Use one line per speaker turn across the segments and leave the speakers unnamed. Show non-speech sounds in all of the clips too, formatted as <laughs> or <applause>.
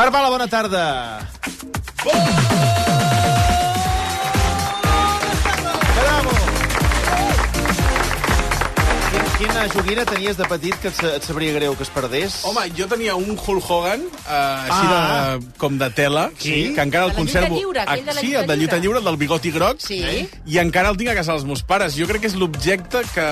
Marc Bala, bona tarda. Bravo! Quin- Quina joguina tenies de petit que et, sa- et sabria greu que es perdés?
Home, jo tenia un Hulk Hogan, eh, així
Ah.
de, com de tela,
Sí?
que encara
De
el
la
conservo.
lluita lliure, aquell de la
sí,
lluita
el de lluita
lliure.
lliure, el del bigoti groc. Eh?
Sí.
I encara el tinc a casa dels meus pares. Jo crec que és l'objecte que,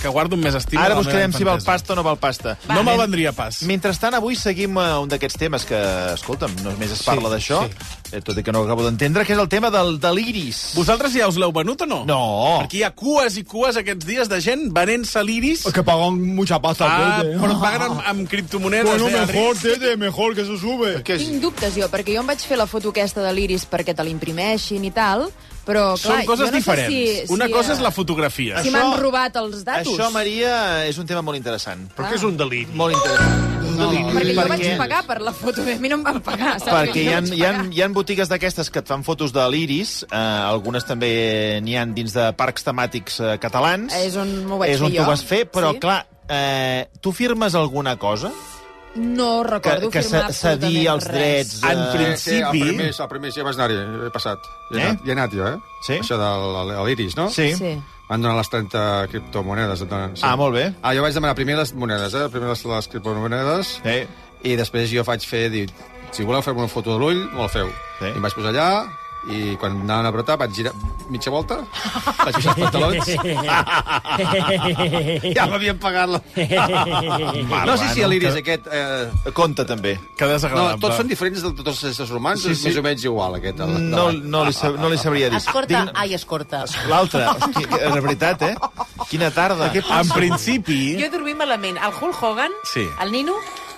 que guardo amb més estima.
Ara
de la
buscarem
meva
si val
infantesa.
pasta o no val pasta.
Va. No me'l vendria pas.
Mentrestant, avui seguim eh, un d'aquests temes que, escolta'm, només es parla
Sí,
d'això, eh, tot i que no ho acabo d'entendre, que és el tema del deliris.
Vosaltres ja us l'heu venut o no?
No.
Perquè hi ha cues i cues aquests dies de gent venent-se l'iris.
Que pagan mucha pasta.
Ah,
eh?
tete.
però paguen amb, amb criptomonedes.
Bueno,
eh,
mejor,
Enric?
tete, mejor que
<laughs>
se sube.
Què és?
Tinc dubtes jo, perquè jo em vaig fer la foto aquesta de l'Iris perquè te l'imprimeixin i tal, però clar,
Són coses
jo no
diferents.
Sé si, si,
Una cosa
eh,
és la fotografia.
Si m'han robat els datos.
Això, Maria, és un tema molt interessant.
Però què és un deliri?
Molt interessant. Un deliri.
Perquè jo vaig pagar per la foto, a mi no em van pagar, saps?
Perquè
Jo
hi ha,
vaig
hi, ha,
pagar.
hi ha botigues d'aquestes que et fan fotos de l'iris, eh, algunes també n'hi han dins de parcs temàtics eh, catalans.
És on m'ho vaig
És on
fer
t'ho
jo.
vas fer, però,
Sí.
clar, eh, tu firmes alguna cosa?
No recordo
que
firmar
ce- cedir
absolutament
els
res.
drets...
En
Eh,
principi-
Sí, el primer, el primer sí, vaig anar-hi, he passat. Hi he,
Eh?
anat, hi he anat jo, eh?
Sí?
Això de l- l- l'Iris, no?
sí. sí.
Sí.
Van donar les 30 criptomonedes. et Donen, sí.
Ah, molt bé.
Ah, jo vaig demanar primer les monedes, eh? Primer les, les criptomonedes.
Sí.
I després jo faig fer... Dic, si voleu fer-me una foto de l'ull, me la feu.
Sí.
I em vaig posar allà i quan anaven a apretar vaig girar mitja volta, vaig posar
<laughs>
els pantalons... <laughs> ja m'havien pagat
<laughs>
la... no sé si l'Iris aquest... Eh,
Compte, també.
Que
no,
desagradable.
tots són diferents de tots els éssers humans,
Sí,
sí,
sí.
sí. més o menys igual, aquest. El,
Mm, No, no, li, sab no li sabria dir.
Escorta, ai, escorta.
<laughs>
<laughs>
L'altre, hosti, que- de veritat, eh? Quina tarda.
En principi...
Jo he dormit malament. El Hulk Hogan,
Sí.
el nino,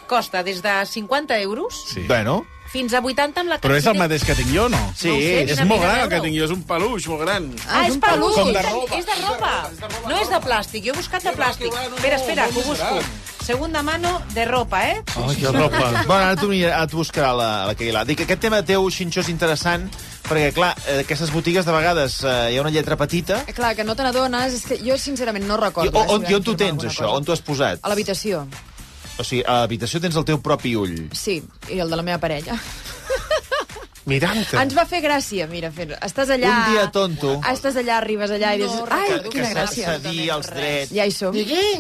costa des de 50 euros
Sí.
Bueno,
fins a 80 amb la
Però és el
capsita-
mateix que tinc jo, no?
sí,
No ho sé,
és...
És
Una
molt
mica
gran el que
d'euro.
tinc jo, és un peluix molt gran.
Ah, és peluix.
Com de
És
roba.
És de ropa. No és de plàstic. Jo he buscat de plàstic.
no, no,
Espera, espera,
molt
que
més
ho busco. Segunda mano de ropa, eh?
Ai, que ropa.
<laughs>
Bueno, ara t'ho anirà- ara t'ho buscarà la, la Keila. Dic, aquest tema teu, Xinxó, és interessant, perquè, clar, eh, aquestes botigues, de vegades, eh, hi ha una lletra petita.
Clar, que no te n'adones, és que jo sincerament no
I,
recordo.
on, on,
eh, si
I
vam
on t'ho
firmar
tens,
alguna
això?
cosa.
On t'ho has posat?
A l'habitació,
O sigui, a l'habitació tens el teu propi ull.
sí, i el de la meva parella.
Mirant-te.
Ens va fer gràcia, mira, fer Estàs allà...
Un dia tonto.
Ah, Estàs allà, arribes allà i dius...
No
Ai,
recordo
quina
que
gràcia.
cedir els drets.
Ja hi som.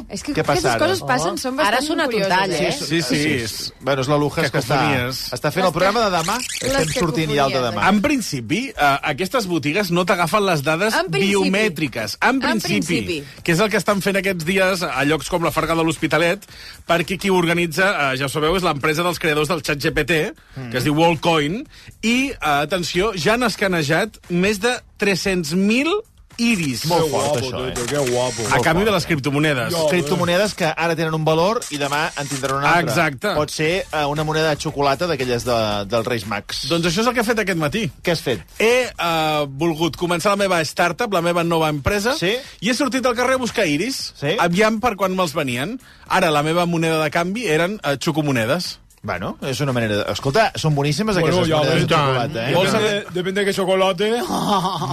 És que
Què passa
aquestes
ara?
coses passen, són
Oh.
bastant
Ara sona
curioses,
total, eh?
Sí,
Sí,
sí. és...
Bueno, és la Lujas que està,
Cacofonies.
està fent el programa de demà. Estem sortint ja el de demà.
En principi, eh, aquestes botigues no t'agafen les dades
En principi.
biomètriques. En
En
principi,
principi.
Que és el que estan fent aquests dies a llocs com la Farga de l'Hospitalet, perquè qui ho organitza, eh, ja ho sabeu, és l'empresa dels creadors del xat GPT,
Mm.
que es diu Wallcoin, i, eh, atenció, ja han escanejat més de 300.000 iris.
Molt
Qué
fort,
guapo,
això, eh?
tete, qué guapo.
A canvi de les criptomonedes.
Jo.
criptomonedes que ara tenen un valor i demà en tindran un altre.
Exacte.
Pot ser eh, una moneda de xocolata d'aquelles de, dels Reis Mags.
Doncs això és el que he fet aquest matí.
Què has fet?
He eh, volgut començar la meva startup, la meva nova empresa,
Sí.
i he sortit al carrer a buscar iris,
Sí.
aviam per quan me'ls venien. Ara, la meva moneda de canvi eren eh, xocomonedes.
Bueno, és una manera... De... Escolta, són boníssimes
Bueno,
aquestes
ja
monedes
ves.
de xocolata, eh?
Vols
Depende-
saber-
Depende de qué chocolate.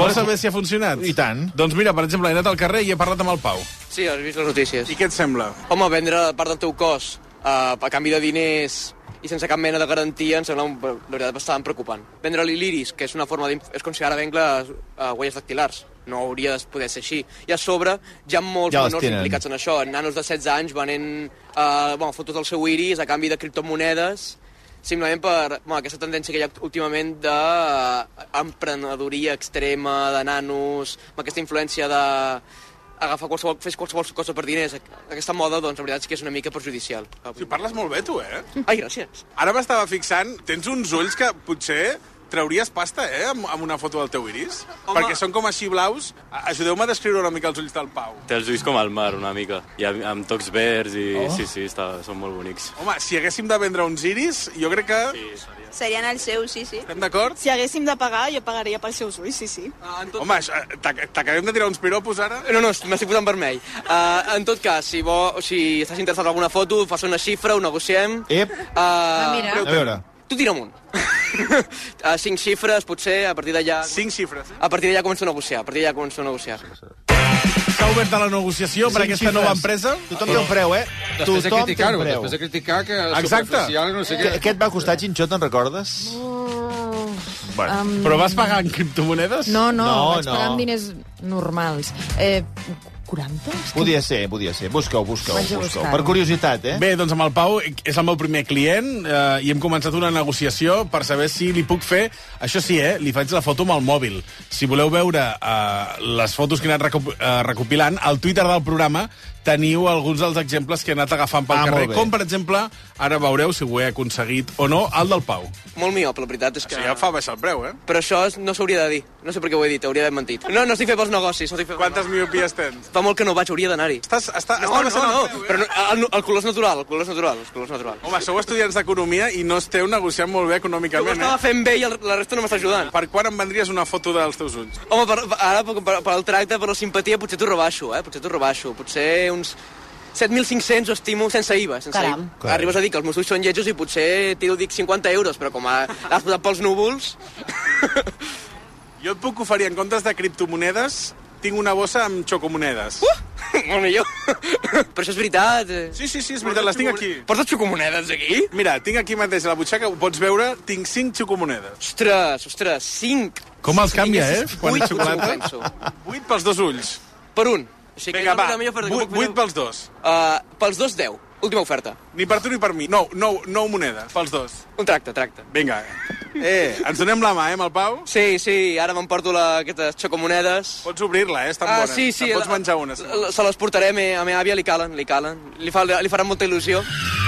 Vols saber si ha funcionat?
I tant.
Doncs mira, per exemple, he anat al carrer i he parlat amb el Pau.
Sí, has vist les notícies.
què et sembla?
Home, vendre part del teu cos eh, a canvi de diners i sense cap mena de garantia em sembla, un- la veritat, bastant preocupant. Vendre l'iliris, que és una forma d'inf- és com si ara venc les eh, huelles dactilars. No hauria de poder ser així. I a sobre hi ha molts
Ja les
menors
tenen.
implicats en això. Nanos de 16 anys venent eh, bueno, fotos del seu iris a canvi de criptomonedes simplement per bueno, aquesta tendència que hi ha últimament d'emprenedoria extrema, de nanos, amb aquesta influència de agafar qualsevol, fes qualsevol cosa per diners. Aquesta moda, doncs, la veritat és que és una mica perjudicial.
parles molt bé, tu, eh?
Ai, gràcies.
Ara m'estava fixant, tens uns ulls que potser trauries pasta, eh, amb, amb una foto del teu iris?
Home. Perquè són
com així blaus. Ajudeu-me a descriure una mica els ulls del Pau.
Té els ulls com el mar, una mica. I amb, amb tocs verds i... Oh. Sí, sí, està, són molt bonics.
Home, si haguéssim de vendre uns iris, jo crec que... Sí.
Serien els seus, sí, sí.
Estem d'acord? Ah,
Si haguéssim de pagar, jo pagaria pels seus ulls, sí, sí.
Home, això- t'ac- t'acabem de tirar uns piropos ara?
No, no, m'estic posant vermell. Uh, en tot cas, si, vo, si estàs interessat en alguna foto, fas una xifra, ho negociem.
Ep,
Uh,
Ah, mira.
a veure.
Tu tira <laughs> amunt. uh, cinc xifres, potser, a partir d'allà...
Cinc xifres. eh?
A partir d'allà començo a negociar, a partir d'allà començo a negociar.
S'ha obert a la negociació per
Cinc
aquesta
xifres.
nova empresa?
Tothom té un preu, eh?
Després de
Tothom té un
criticar-ho,
preu.
després de criticar que
Oh. Exacte.
superficial, no sé
Què,
què...
què et va costar, Xinxó, te'n recordes?
Bueno, Però vas pagar en criptomonedes?
Um, No, no,
No,
vaig pagar
no.
amb diners normals. Eh, 40? És que-
Podia ser, podia ser. Busca-ho, busca-ho,
Vaig a
busca
buscar-ho.
Per curiositat, eh?
Bé, doncs amb el Pau és el meu primer client eh, i hem començat una negociació per saber si li puc fer... Això sí, eh? Li faig la foto amb el mòbil. Si voleu veure eh, les fotos que he anat recu- eh, recopilant, al Twitter del programa teniu alguns dels exemples que he anat agafant pel
Ah, molt
carrer.
bé.
Com, per exemple, ara veureu si ho he aconseguit o no, el del Pau.
Molt miop, la veritat és que...
baixar el preu, eh?
Però això és- no s'hauria de dir. No sé per què ho he dit, hauria d'haver mentit. No, no estic fet pels negocis. No estic fet...
miopies tens?
Fa molt que no vaig, hauria d'anar-hi.
Estàs, està,
No, no, no,
eh?
però no, el, el color és natural, el color és natural, el color és natural.
Home, sou estudiants d'economia i no esteu negociant molt bé
Jo ho
econòmicament, eh?
estava fent bé i el, la resta no m'està ajudant.
Per quan em vendries una foto dels teus ulls?
Home, per, per- ara per, per, per el tracte, per la simpatia, potser t'ho rebaixo, eh? Potser t'ho rebaixo. Potser uns 7.500 ho estimo sense IVA. Sense
Caram.
IVA. Arribes a dir que els meus ulls són lletjos i potser tiro dic 50 euros, però com a- l'has posat pels núvols...
Jo et puc oferir, en comptes de criptomonedes, tinc una bossa amb xocomonedes.
Uh! <laughs> molt millor. però això és veritat. eh?
Sí, sí, sí, és veritat, les tinc aquí.
Portes xocomonedes aquí?
Mira, tinc aquí mateix a la butxaca, ho pots veure, tinc 5 xocomonedes.
Ostres, eh, ostres, 5.
Com els canvia, eh, quan
Quan
és xocolata.
xocolata.
8 pels dos ulls.
Per un. O sigui,
Vinga, va,
millor oferta que
8,
puc fer-
pels dos.
Uh, pels dos, 10. Última oferta.
Ni per tu ni per mi. 9, 9, 9 monedes, pels dos.
Un tracte, tracte.
Vinga. Eh, ens donem la mà, eh, amb el Pau?
Sí, sí, ara m'emporto la, aquestes xocomonedes.
Pots obrir-la, eh? Estan
Ah,
bones.
sí, sí.
Te'n pots
la-
menjar una. si
la- la- Se les portaré a, me, a meva àvia, li calen, li calen. Li, fa, li farà molta il·lusió.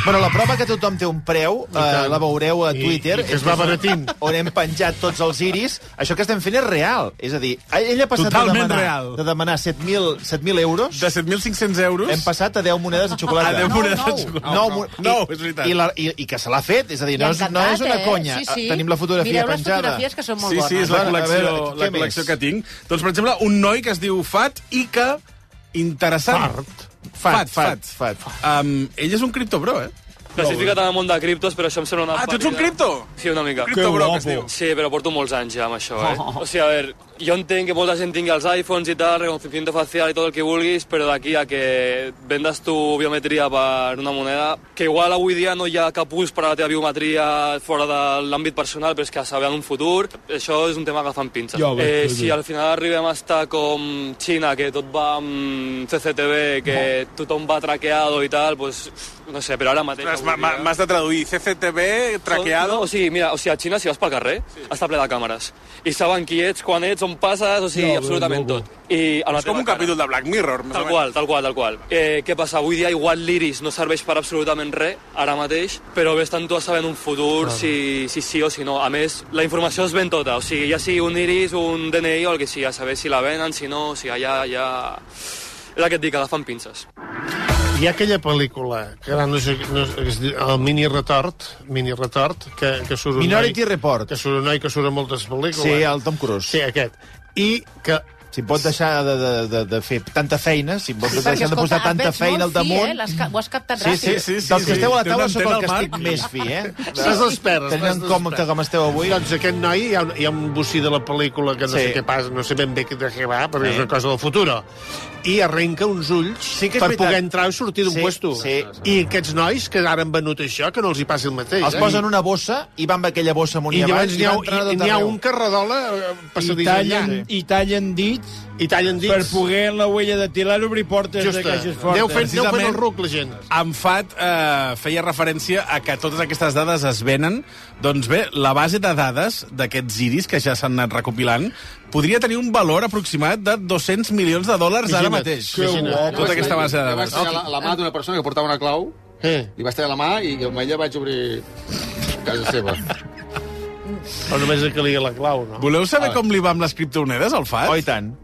Bueno, la prova que tothom té un preu, eh, la veureu a
I-
Twitter.
i que es va baratint.
<laughs> On hem penjat tots els iris. Això que estem fent és real. És a dir, ell ha passat
Totalment
de demanar,
real.
de demanar 7.000 7.000 euros.
De 7.500 euros...
Hem passat a 10 monedes de xocolata.
A 10 monedes de xocolata.
No, no,
No, és veritat.
I, la, i, I que se l'ha fet, és a dir, no és, no és una
eh?
conya.
Sí, sí.
Tenim la fotografia
Mireu les
penjada.
fotografies que són molt
sí,
bones.
sí, és la
Clar, a
col·lecció,
veure,
la
què
col·lecció
més?
que tinc. Doncs, per exemple, un noi que es diu Fat i que... Interessant. Fat, fat.
fat.
Um, ell és un criptobro, eh?
No, estic ficat en el món de criptos, però això em sembla una...
Ah, tu ets un
pàrria.
cripto?
Sí, una mica.
Que
Criptobro, que es
guapo. Oh.
diu.
Sí, però porto molts anys ja amb això, eh? O sigui, a veure, jo entenc que molta gent tingui els iPhones i tal, reconocimiento facial i tot el que vulguis, però d'aquí a que vendes tu biometria per una moneda, que igual avui dia no hi ha cap ús per a la teva biometria fora de l'àmbit personal, però és que a saber en un futur, això és un tema agafant pinces.
Ja ho veig,
eh,
sí, sí.
si al final arribem a estar com Xina, que tot va amb CCTV, que tothom va traqueado i tal, doncs, no sé, però ara mateix...
Ostres,
avui
ma- ma-
dia-
M'has de traduir. CCTV, traqueado...
no, o sigui, mira, o sigui, a Xina, si vas pel carrer, sí. està ple de càmeres. I saben qui ets, quan ets, on passes, o sigui,
Ja,
no, absolutament
loco.
tot. I a la
És com
teva
un
cara.
capítol de Black Mirror, més o
Tal
menys.
qual, tal qual, tal qual. Eh, què passa? Avui dia igual l'Iris no serveix per absolutament res, ara mateix, però ves tant tu a saber en un futur si, si sí o si no. A més, la informació es ven tota, o sigui, ja sigui un Iris, un DNI o el que sigui, a saber si la venen, si no, o sigui, allà, ja... És el que et dic, agafen pinces.
Hi ha aquella pel·lícula que ara no sé, no, sé, que es diu el mini retort, mini retort, que, que surt un
Minority
noi,
Report.
que surt un noi que surt a moltes pel·lícules. Eh,
Sí, el Tom Cruise.
Sí, aquest. I que...
Si pot deixar de, de, de, de fer tanta feina, si pot deixar
Perquè,
de posar
escolta,
tanta
et veig
feina
molt
al damunt...
Fi, eh? L'has ca- Ho has
Sí,
captat
sí,
ràpid.
sí,
sí,
sí, Dels que
sí.
esteu a la
Té una
taula sóc
antena
el
al
que
mar.
estic més fi, eh?
Estàs d'esperes.
Tenint en compte com esteu avui...
Doncs aquest noi, hi ha, un- hi ha un bocí de la pel·lícula que no
Sí.
sé què passa, no sé ben bé de què va, però
Sí.
és una cosa del futur. I arrenca uns ulls
Sí que és
per
veritat.
poder entrar i sortir d'un
Sí,
puesto.
sí.
I aquests nois que ara han venut això, que no els hi passi el mateix.
Els
eh?
posen una bossa i van amb aquella bossa amunt
I
i, avall
llavors
i
n'hi ha,
van entrenar
i-
tot
n'hi ha
arreu.
un que redola eh,
I
passadís allà.
tallen, I tallen dits
I tallen dits.
per poder en la huella de tilar obrir portes
Justa.
de caixes fortes.
Deu fent, deu fent
Precisament.
el ruc, la gent.
En Fat eh, feia referència a que totes aquestes dades es venen. Doncs bé, la base de dades d'aquests iris que ja s'han anat recopilant podria tenir un valor aproximat de 200 milions de dòlars ara
Imagina't,
mateix.
imagina't.
Tota aquesta base de
Jo vaig
dades.
tallar la, la mà d'una persona que portava una clau,
Eh.
li vaig tallar la mà i amb ella vaig obrir casa seva.
O només que calia la clau, no?
Voleu saber
Ah.
com li va amb les criptomonedes, al Fat?
Oh, i tant.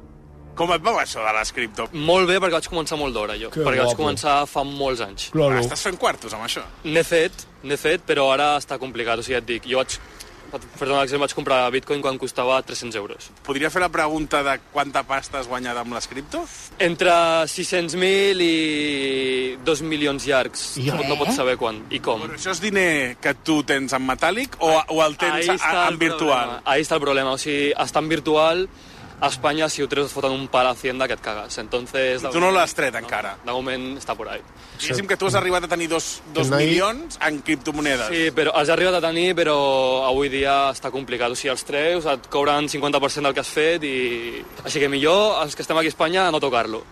Com et va això de les cripto?
Molt bé, perquè vaig començar molt d'hora, jo.
Que
perquè
guapo.
vaig començar fa molts anys.
Cloro.
Ah, fent quartos amb això?
N'he fet, n'he fet, però ara està complicat. O sigui, et dic, jo vaig... Per fer un exemple, vaig comprar bitcoin quan costava 300 euros.
Podria fer la pregunta de quanta pasta has guanyat amb les cripto?
Entre 600.000 i 2 milions llargs. Ja.
eh?
No pots saber quan i com.
Això és diner que tu tens en metàl·lic o, o el
Ahí está el problema. Ahí està el problema. O sigui, està en virtual a Espanya, si ho treus et foten un pal a Hacienda que et cagues. Entonces,
Tu no l'has tret, encara.
De moment està por ahí.
Diguéssim que tu has arribat a tenir dos, dos
Que no hi-
milions en criptomonedes.
Sí, però has arribat a tenir, però avui dia està complicat. O sigui, els treus et cobren 50% del que has fet i... Així que millor, els que estem aquí a Espanya, no tocar-lo.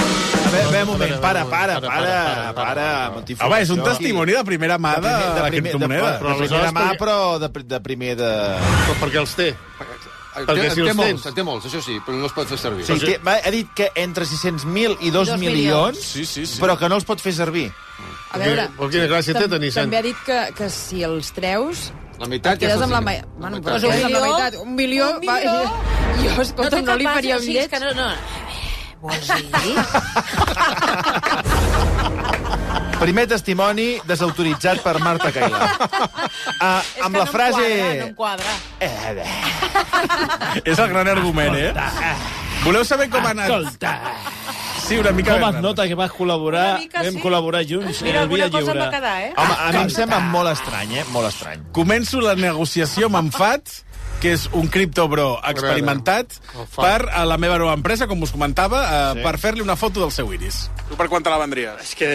A veure, a veure, un moment, para, para, para, para. multiformació.
Home, és un testimoni de primera mà de, de la criptomoneda.
De, de primera mà, però de, pri- de primer de... Però
perquè els té.
Perquè si
en té
els
molts,
tens.
en té molts, això sí, però no els pot fer servir.
Sí, té, va- ha dit que entre 600.000 i 2
Dos
milions,
milions.
sí, sí, sí. però que no els pot fer servir.
A veure,
Tam-
tam- també ha dit que, que si els treus...
La
Et
meitat
quedes amb la... Ma...
funciona.
Bueno,
meitat.
però
Doncs un
un,
milió,
milió, la
un
meitat, un milió... <laughs>
milió.
Va... Jo, escolta, no,
No
li
te
faria un
passis,
lleig.
que no- no. Vols dir?
Primer testimoni desautoritzat per Marta Cailà.
<laughs>
Ah, amb la frase...
quadra.
Eh, bé.
És el gran argument, eh? Voleu saber com ha anat?
Ah, Escolta.
Sí, una mica...
Com
bé,
es nota que vas col·laborar,
mica,
vam
sí.
col·laborar junts
Mira,
en el Via
alguna cosa em
Lliure.
va quedar, eh?
Home, a mi
Ah,
em sembla molt estrany, eh? Molt estrany.
Començo la negociació amb en Fat, que és un criptobro experimentat, per a la meva nova empresa, com us comentava, eh, per fer-li una foto del seu iris.
Tu per quant te la vendries?
És que...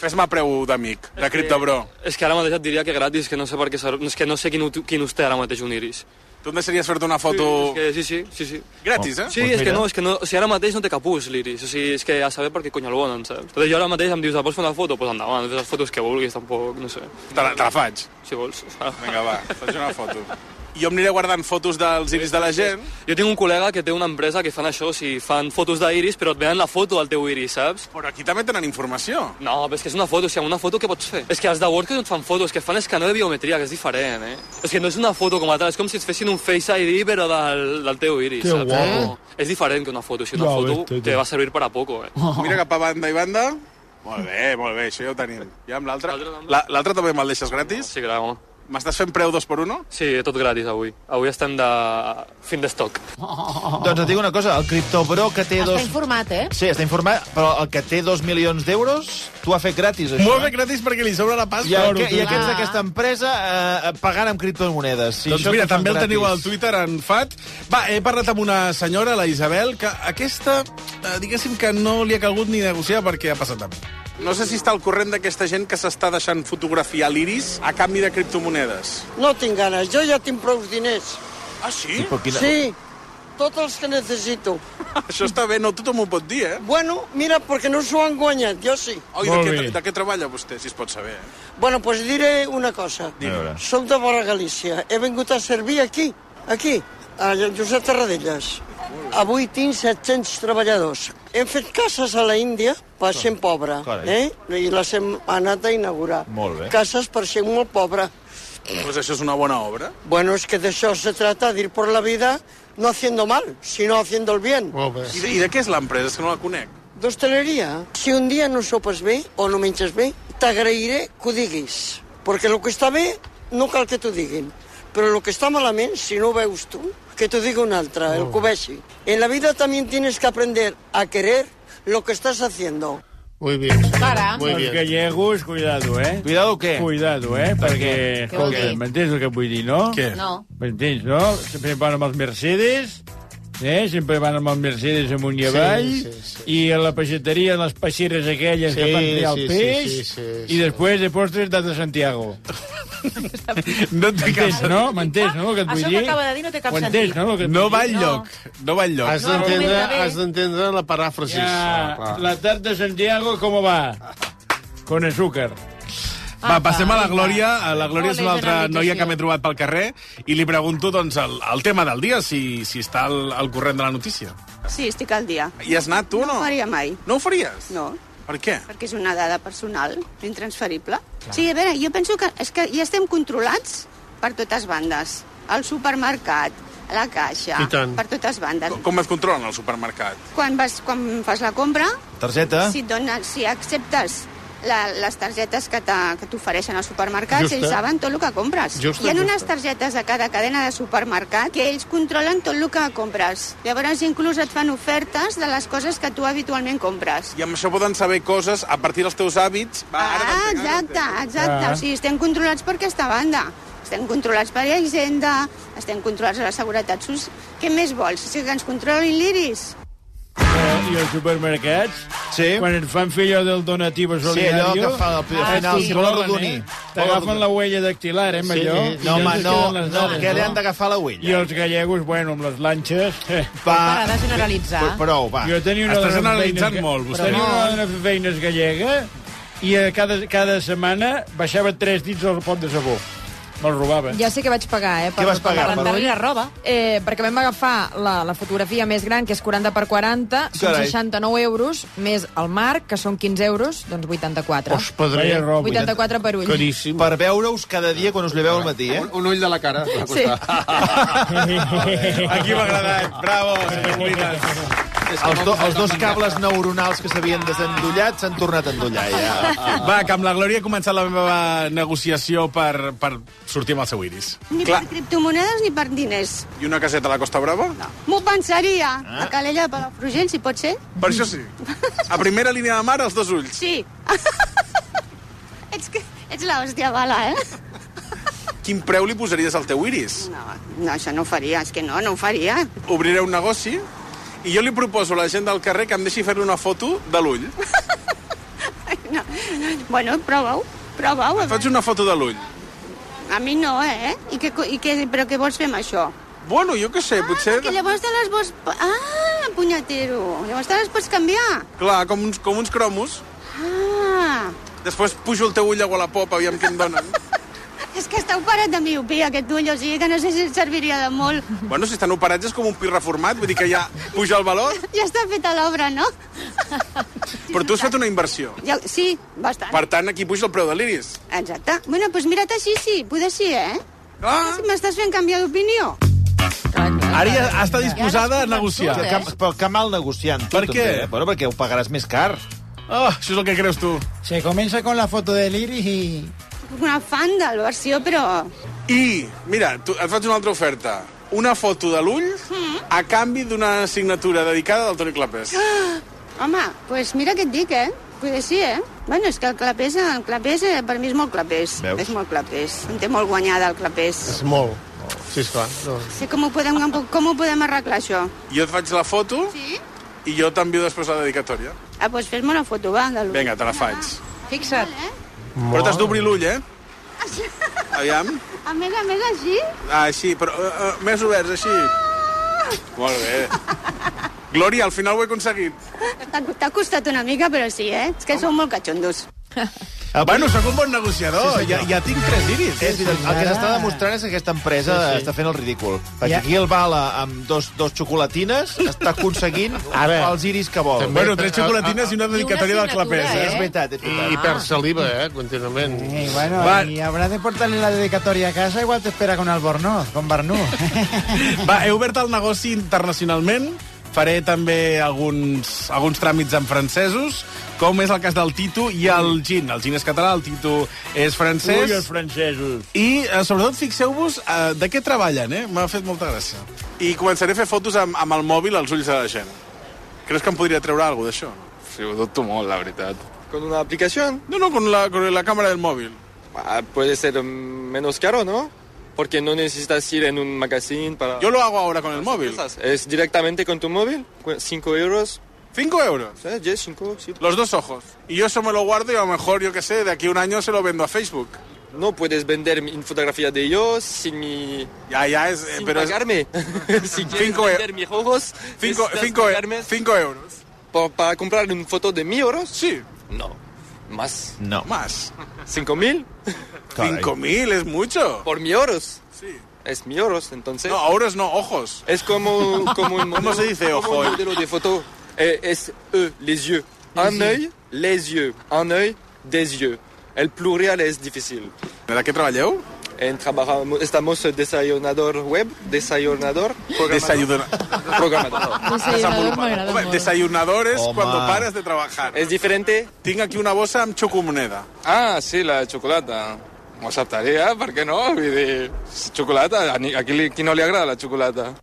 Fes-me preu d'amic, de criptobro.
És que ara mateix et diria que gratis, que no sé per què... ser- És que no sé quin, ut- quin us té ara mateix un iris.
Tu em deixaries fer-te una foto...
Sí, és que, sí, sí, sí, sí.
Gratis, eh?
Sí, és que no, és que no, o sigui, ara mateix no té capús, l'Iris. O sigui, és que a saber per què cony el volen, saps? Entonces, jo ara mateix em dius, "Ah, vols fer una foto? Doncs pues endavant, fes les fotos que vulguis, tampoc, no sé.
Te la, te la faig.
Si vols.
Vinga, va, faig una foto. Jo em aniré guardant fotos dels iris de la gent.
Jo tinc un col·lega que té una empresa que fan això, o sigui, fan fotos d'iris, però et venen la foto del teu iris, saps?
Però aquí també tenen informació.
No, però és que és una foto, o sigui, amb una foto què pots fer? És que els de WordCamp no et fan fotos, que fan escanó de biometria, que és diferent, eh? És que no és una foto com a tal, és com si et fessin un Face ID, però del, del teu iris,
Que
saps?
guapo.
No, És diferent que una foto, o sigui, una
Ja ho ves,
foto
tete.
te va servir per a poco, eh?
Mira cap a banda i banda. Molt bé, molt bé, això ja ho tenim. I amb l'altre? La- L'altre també me'l deixes gratis?
Sí, clar, home.
M'estàs fent preu dos per uno?
Sí, tot gratis avui. Avui estem de... fin d'estoc.
Doncs et dic una cosa, el criptobro que té
Oh. Està
dos...
informat, eh?
Sí, està informat, però el que té dos milions d'euros, tu ha fet gratis, això. eh?
Molt bé, gratis, perquè li sobra la pasta.
I,
Claro,
aqu i
clar.
aquests d'aquesta empresa eh, pagant amb criptomonedes.
doncs
això
mira,
que fan
també el teniu al
gratis.
Twitter, en Fat. Va, he parlat amb una senyora, la Isabel, que aquesta, eh, diguéssim que no li ha calgut ni negociar perquè ha passat amb.
No sé si està al corrent d'aquesta gent que s'està deixant fotografiar l'iris a canvi de criptomonedes.
No tinc ganes, jo ja tinc prou diners.
Ah, sí?
Però quina-
Sí, tots els que necessito.
<laughs> Això està bé, no tothom ho pot dir, eh?
Bueno, mira, perquè no s'ho han guanyat, jo sí.
Oi, de, què, de què treballa vostè, si es pot saber?
Bueno, doncs pues diré una cosa.
veure.
Soc de Vora Galícia, he vingut a servir aquí, aquí, a Josep Tarradellas. Avui tinc 700 treballadors. Hem fet cases a la Índia per gent pobra,
Carai.
eh? I les hem anat a inaugurar.
Molt bé.
Cases per gent molt pobra.
Doncs pues això és una bona obra.
Bueno, es que de eso se trata, de ir por la vida no haciendo mal, sino haciendo el bien.
I de, I de què és l'empresa? És que no la conec.
D'hostaleria, si un dia no sopes bé o no menges bé, t'agrairé que ho diguis. Perquè el que està bé no cal que t'ho diguin. Però el que està malament, si no ho veus tu, que t'ho digui un altre, el que ho vegi. En la vida també tienes que aprender a querer lo que estás haciendo.
Muy bien.
Para.
Muy
Els
bien.
gallegos, cuidado, eh?
Cuidado què?
Cuidado, eh? Perquè,
Què vol
escolta,
dir?
m'entens el que vull dir, no?
Què?
No.
M'entens, no? Sempre van amb els Mercedes, eh? Sempre van amb els Mercedes amunt i avall, sí, sí, sí. i a la peixateria, les peixeres aquelles
Sí,
que fan triar el
sí, sí,
peix,
sí, sí, sí.
i després de postres de Santiago.
no
M'entens, no? M'entens, no, el que et vull
Ah, Això
dir?
que acaba de dir no té cap
Ho entens,
sentit.
no? El que et
No
vull
va
dir?
enlloc, no va enlloc.
Has
No,
d'entendre
argumenta bé.
has d'entendre la paràfrasis.
Ya, la tarta de Santiago, ¿cómo va? Con azúcar.
Va, passem a la Glòria. A La Glòria és una altra noia que m'he trobat pel carrer i li pregunto doncs, el, el tema del dia, si, si està al, al corrent de la notícia.
Sí, estic al dia.
Hi has anat tu o no?
No ho faria mai.
No ho faries?
No,
Per què?
perquè és una dada personal, intransferible. O sigui, a veure, jo penso que, és que ja estem controlats per totes bandes. Al supermercat, a la caixa,
I tant.
per totes bandes.
Com et controlen al supermercat?
Quan, vas, quan fas la compra,
Targeta?
si, et donen, si acceptes la, les targetes que t'ha- que t'ofereixen al supermercat,
Justa.
eh.
ells saben tot el que compres.
Justa,
Hi ha
justa.
unes targetes de cada cadena de supermercat que ells controlen tot el que compres. Llavors, inclús et fan ofertes de les coses que tu habitualment compres.
I amb això poden saber coses a partir dels teus hàbits. Va, ara
Ah, exacte, exacte.
Ah.
O sigui, estem controlats per aquesta banda. Estem controlats per la Hisenda, estem controlats per la Seguretat Social. Què més vols? O sigui, que ens controlin l'iris?
I als supermercats, sí. quan et fan fer allò del Ah, donativo solidario...
allò que fa al final,
et
si vol
controlen,
arrodonir.
eh? T'agafen la huella dactilar, eh, amb
Sí,
allò?
sí. No, home, no, no, que li han d'agafar la huella.
I els gallegos, bueno, amb les lanxes... eh.
Para de generalitzar.
Però, però, va.
Jo tenia una
Estàs
dona de
analitzant
feines-
molt, vostè.
Tenia una
No.
dona de feines gallega i eh, cada, cada setmana baixava tres dits al pot de sabó. Me'l robava.
Ja sé que vaig pagar, eh?
Què vas pagar,
per rentar-li
Parodi?
la roba. Eh, perquè vam agafar la, la fotografia més gran, que és 40 per 40, són
Carai.
69 euros, més el marc, que són 15 euros, doncs 84.
Os, padré. Vaya roba.
84 per ull.
Caríssim. Per veure-us cada dia quan us lleveu al matí, eh? Un,
un ull de la <laughs> cara.
Sí.
Aquí m'ha agradat. Bravo, Els, do, els dos cables neuronals que s'havien desendollat s'han tornat a endollar, ja.
Va, que amb la Glòria he començat la meva negociació per, per sortir amb el seu iris.
Ni
Clar.
per criptomonedes ni per diners.
I una caseta a la Costa Brava? No.
M'ho pensaria. Ah. A Calella de Palafrugell, si pot ser?
Per això sí. A primera línia de mar, els dos ulls.
<laughs> Sí. ets, que, ets l'hòstia bala, eh?
Quin preu li posaries al teu iris?
No, no, això no ho faria, és que no, no ho faria.
Obriré un negoci i jo li proposo a la gent del carrer que em deixi fer-li una foto de l'ull.
No. Bueno, prova-ho, prova-ho.
Faig una foto de l'ull.
A mi no, eh? I què, co- i què, però què vols fer amb això?
Bueno, jo què sé, potser...
Que llavors te les vols... pa- Ah, punyetero. Llavors te les pots canviar.
Clar, com uns, com uns cromos.
Ah,
Després pujo el teu ull a Wallapop, aviam què em donen.
és que està operat de miopia, aquest ull, o sigui que no sé si et serviria de molt.
Bueno, si estan operats és com un pi reformat, vull dir que ja puja el valor,
Ja està feta l'obra, no?
però tu has fet una inversió.
Ja, sí, bastant.
Per tant, aquí puja el preu de l'iris.
Exacte. Bueno, doncs mira't així, sí, poder sí, eh?
Ah.
M'estàs fent canviar d'opinió.
Ara ja està
disposada a negociar.
Que, que, però que mal negociant. Tu,
Per què?
També, eh? Bueno, perquè ho pagaràs més car.
Oh, això és el que creus tu.
Se comienza con la foto del iris y...
Una fan del versió, però...
I, mira, tu, et faig una altra oferta. Una foto de l'ull a canvi d'una signatura dedicada del Toni Clapés.
Ah, Home, doncs pues mira què et dic, eh? Poder sí, eh? Bueno, és que el clapés, el clapés eh, per mi és molt clapés.
Veus?
És molt clapés. Em té molt guanyada, el clapés.
És molt. Sí, esclar. No.
Sí, com ho podem, com ho podem arreglar, això?
Jo et faig la foto
sí?
i jo t'envio després la dedicatòria.
Ah, doncs fes-me una foto, va,
eh?
de l'ull.
Vinga, te la faig.
Fixa't. Eh?
Però t'has d'obrir l'ull, eh? Aviam.
A més a més, així?
Ah, així, però uh, uh, més oberts, així. Molt bé. Glòria, al final ho he aconseguit.
T'ha t'ha costat una mica, però sí, eh? És que sou molt catxondos.
Ah,
bueno, sóc un bon negociador.
Sí, ja,
ja tinc tres iris.
Sí, sí, el que s'està demostrant és que aquesta empresa
Sí,
sí,
sí.
sí. està fent el ridícul.
Ja.
Perquè aquí el Bala, amb dos, dos xocolatines, està <laughs> aconseguint els iris que vol.
També- Bueno, tres xocolatines i una I una dedicatòria del signatura, Clapés, eh? eh?
És veritat, és veritat.
I perd saliva, eh, contínuament.
Y bueno,
Va.
y habrás de portarle la dedicatoria a casa, igual te espera con Albornoz, con Barnú.
Va, he obert el negoci internacionalment. Faré també alguns, alguns tràmits en francesos, com és el cas del Tito i el Gin. El Gin és català, el Tito és francès.
Ui, els francesos.
I, eh, sobretot, fixeu-vos eh, de què treballen, eh? M'ha fet molta gràcia.
I començaré a fer fotos amb, amb el mòbil als ulls de la gent. Creus que em podria treure alguna cosa d'això?
Sí, ho dubto molt, la veritat.
¿Con una aplicación?
No, no, con la, con la cámara del móvil.
Ah, puede ser mm, menos caro, ¿no? Porque no necesitas ir en un magazine para...
Yo lo hago ahora con el móvil.
¿Es directamente con tu móvil? cu- ¿Cinco euros?
¿Cinco euros?
Sí, diez, cinco, sí.
Los dos ojos. Y yo eso me lo guardo y a lo mejor, yo qué sé, de aquí a un año se lo vendo a Facebook.
No puedes vender mi fotografía de ellos sin mi...
Ya, ya, es...
Sin
pero es- <laughs>
pagarme. si quieres
Cinco e-
vender mis ojos,
Cinco,
necesitas
cinco, e-
pagarme
cinco euros.
por- ¿Para comprar una foto de mí euros?
Sí.
No. ¿Más?
No.
¿Más?
¿Cinco mil?
Caray. Cinco mil, es mucho.
¿Por mi euros?
Sí.
Es mi euros, entonces...
No, euros no, ojos.
Es como, como
<laughs>
un
¿Cómo se dice
como
ojo,
un
eh?
modelo de foto. Eh, es E, les yeux. Un
yeux.
œil, les yeux. Un œil, des yeux. El plurial es difícil.
¿En la que trabajeu?
En trabajamos, estamos desayunador web, desayunador,
Desayuno-
programador.
Desayunador m'agrada Home, molt. desayunador és
Oh,
Home.
quan pares de treballar.
És diferente?
Tinc aquí una bossa amb xocomoneda.
Ah, sí, la de xocolata. M'ho acceptaria, per què no? Vull dir, xocolata, a ni- a qui, li, qui no li agrada la xocolata?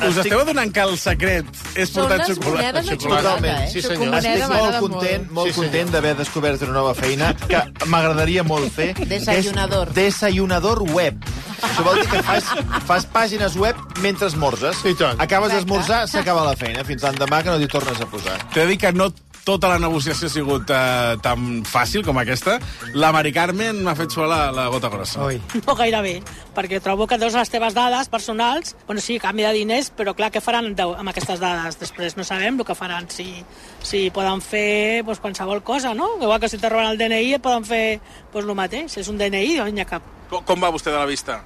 Us esteu adonant que el secret és
Són
portar
les
xocolata?
monedes de xocolata, Totalment, eh? sí, senyor. Xocolata Estic molt m'agrada content, molt. molt content d'haver descobert una nova feina que m'agradaria molt fer. que és
Desayunador.
Desayunador web. Això vol dir que fas, fas pàgines web mentre esmorzes. I tant. Acabes d'esmorzar, s'acaba la feina. Fins l'endemà que no t'hi tornes a posar.
T'he de dir que no tota la negociació ha sigut eh, tan fàcil com aquesta. La Mari Carmen m'ha fet suar la, la gota grossa. Oi.
No gairebé, perquè trobo que deus les teves dades personals, bueno, sí, canvi de diners, però clar, què faran de- amb aquestes dades després? No sabem el que faran, si, si poden fer doncs, qualsevol cosa, no? Igual que si te roben el DNI, poden fer doncs, el mateix, és un DNI, doncs n'hi ha cap.
Com, com va vostè de la vista?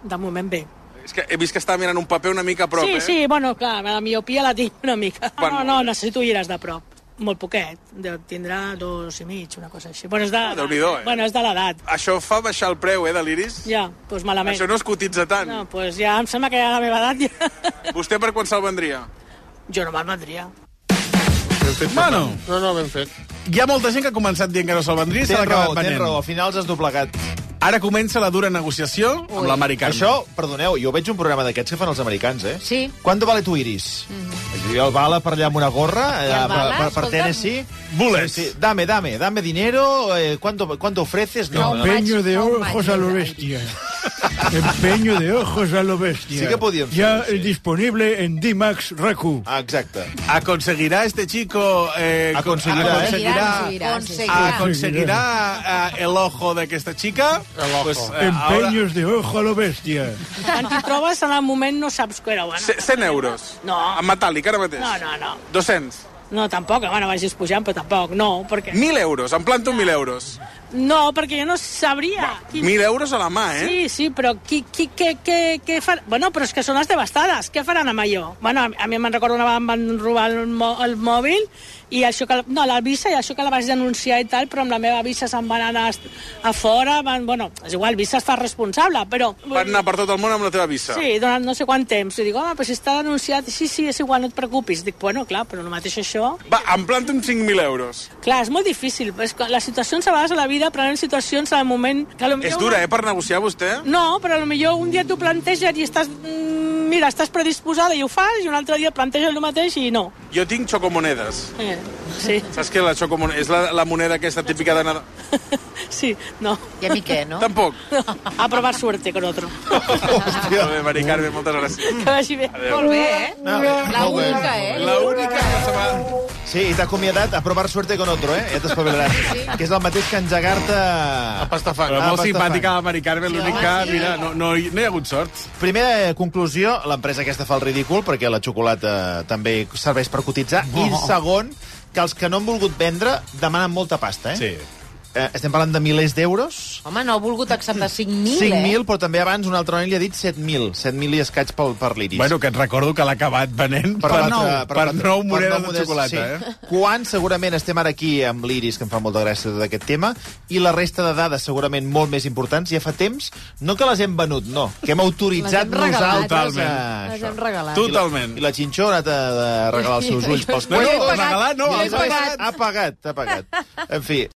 De moment bé.
És que he vist que estava mirant un paper una mica a prop,
sí,
eh?
sí, bueno, clar, la miopia la tinc una mica.
Bueno.
No, no, necessito ulleres de prop. Molt poquet, de, tindrà dos i mig, una cosa així. Bueno, és de,
Ah, Déu-n'hi-do, eh?
bueno, és de l'edat.
Això fa baixar el preu, eh, de l'iris?
Ja, doncs malament.
Això no es cotitza tant.
No, pues ja em sembla que ja a la meva edat ja...
Vostè per quan se'l vendria?
Jo no me'l vendria.
Bueno,
No, no, ben fet.
hi ha molta gent que ha començat dient que no se'l vendria i se
Tens
l'ha
raó,
acabat
tens
venent.
raó. Al final has doblegat.
Ara comença la dura negociació amb la Mari Carmen.
Això, perdoneu, jo veig un programa d'aquests que fan els americans, eh?
Sí.
Quanto vale tu iris? Mm. Jo el bala per allà amb una gorra, allà,
el bala,
per, per, per
escolta'm.
Tennessee. Bullets. Sí, sí. Dame, dame, dame dinero, eh, ¿cuánto, ¿cuánto ofreces?
Empeño de ojos a lo bestia. <laughs> Empeño de ojos a lo bestia.
Sí que podíem fer,
Ya eh, disponible en D-Max Raku.
Ah, exacte.
Aconseguirà este chico... Eh,
Aconseguirà, eh?
aconseguirà,
Aconseguirà.
aconseguirà eh, el ojo d'aquesta chica. El ojo. Pues, eh, ahora...
Empeños de ojo a lo bestia.
Quan t'hi trobes, en el moment no saps què era. Bueno,
100 euros.
No.
En metàl·lic, ara mateix.
no, no, no.
200.
No, tampoc, bueno, vagis pujant, però tampoc, no, perquè...
1.000 euros, em planto 1.000 euros.
No, perquè jo no sabria. Qui...
1.000 euros a la mà, eh?
Sí, sí, però qui, qui, què, què, què fan... Bueno, però és que són les devastades. Què faran amb allò? Bueno, a, a mi me'n recordo una vegada em van robar el, mò, el mòbil i això que... la- No, la visa, i això que la vaig denunciar i tal, però amb la meva visa se'n van anar a fora, van... Bueno, és igual, visa es fa responsable, però...
Van anar per tot el món amb la teva visa.
Sí, durant no sé quant temps. I dic, home, però si està denunciat, sí, sí, és igual, no et preocupis. Dic, bueno, clar, però el mateix això...
Va, em planto amb 5.000 euros.
Clar, és molt difícil. És que les situacions a vegades a la vida prenen situacions al moment... Que a lo millor
És dura, eh, per negociar, vostè?
No, però a lo millor un dia t'ho planteges i estàs... mm, Mira, estàs predisposada i ho fas, i un altre dia planteges el mateix i no.
Jo tinc xocomonedes.
Eh, sí,
Saps què? La xocomoneda és la, la moneda aquesta típica de Nadal.
sí, no.
I a mi què, no?
Tampoc. Mm.
A provar suerte con otro. Ah.
Hòstia. Molt bé, Mari Carmen, moltes gràcies.
Que vagi bé.
Adéu.
Molt bé, eh?
No,
la
molt bé.
única, eh?
La única.
Sí, i t'ha acomiadat a provar suerte con otro, eh? Ja t'espavilaràs. Sí. Que és el mateix que engegar-te... A
pastafang.
Però
Ah,
molt
pastafang.
simpàtica la Mari Carmen, l'únic
home,
que,
sí.
mira, no, no, hi, no hi ha hagut sort.
Primera eh, conclusió, l'empresa aquesta fa el ridícul perquè la xocolata també serveix per cotitzar. Oh. I segon, que els que no han volgut vendre demanen molta pasta, eh? Sí. Eh, estem parlant de milers d'euros.
Home, no ha volgut acceptar 5.000,
5.000,
eh?
però també abans un altre noi li ha dit 7.000. 7.000 i escaig pel, per l'iris.
Bueno, que et recordo que l'ha acabat venent per, nou, per, nou monedes de xocolata, eh?
Quan segurament estem ara aquí amb l'Iris, que em fa molta gràcia tot aquest tema, i la resta de dades segurament molt més importants, ja fa temps, no que les hem venut, no, que hem autoritzat
Les hem regalat,
nosaltres a
les- les
això.
hem regalat.
I la, i la Xinxó ha anat a, a regalar els seus ulls pels
No, no,
puestos.
regalar no,
I
els
després
pagat.
Ha pagat, ha pagat. En fi,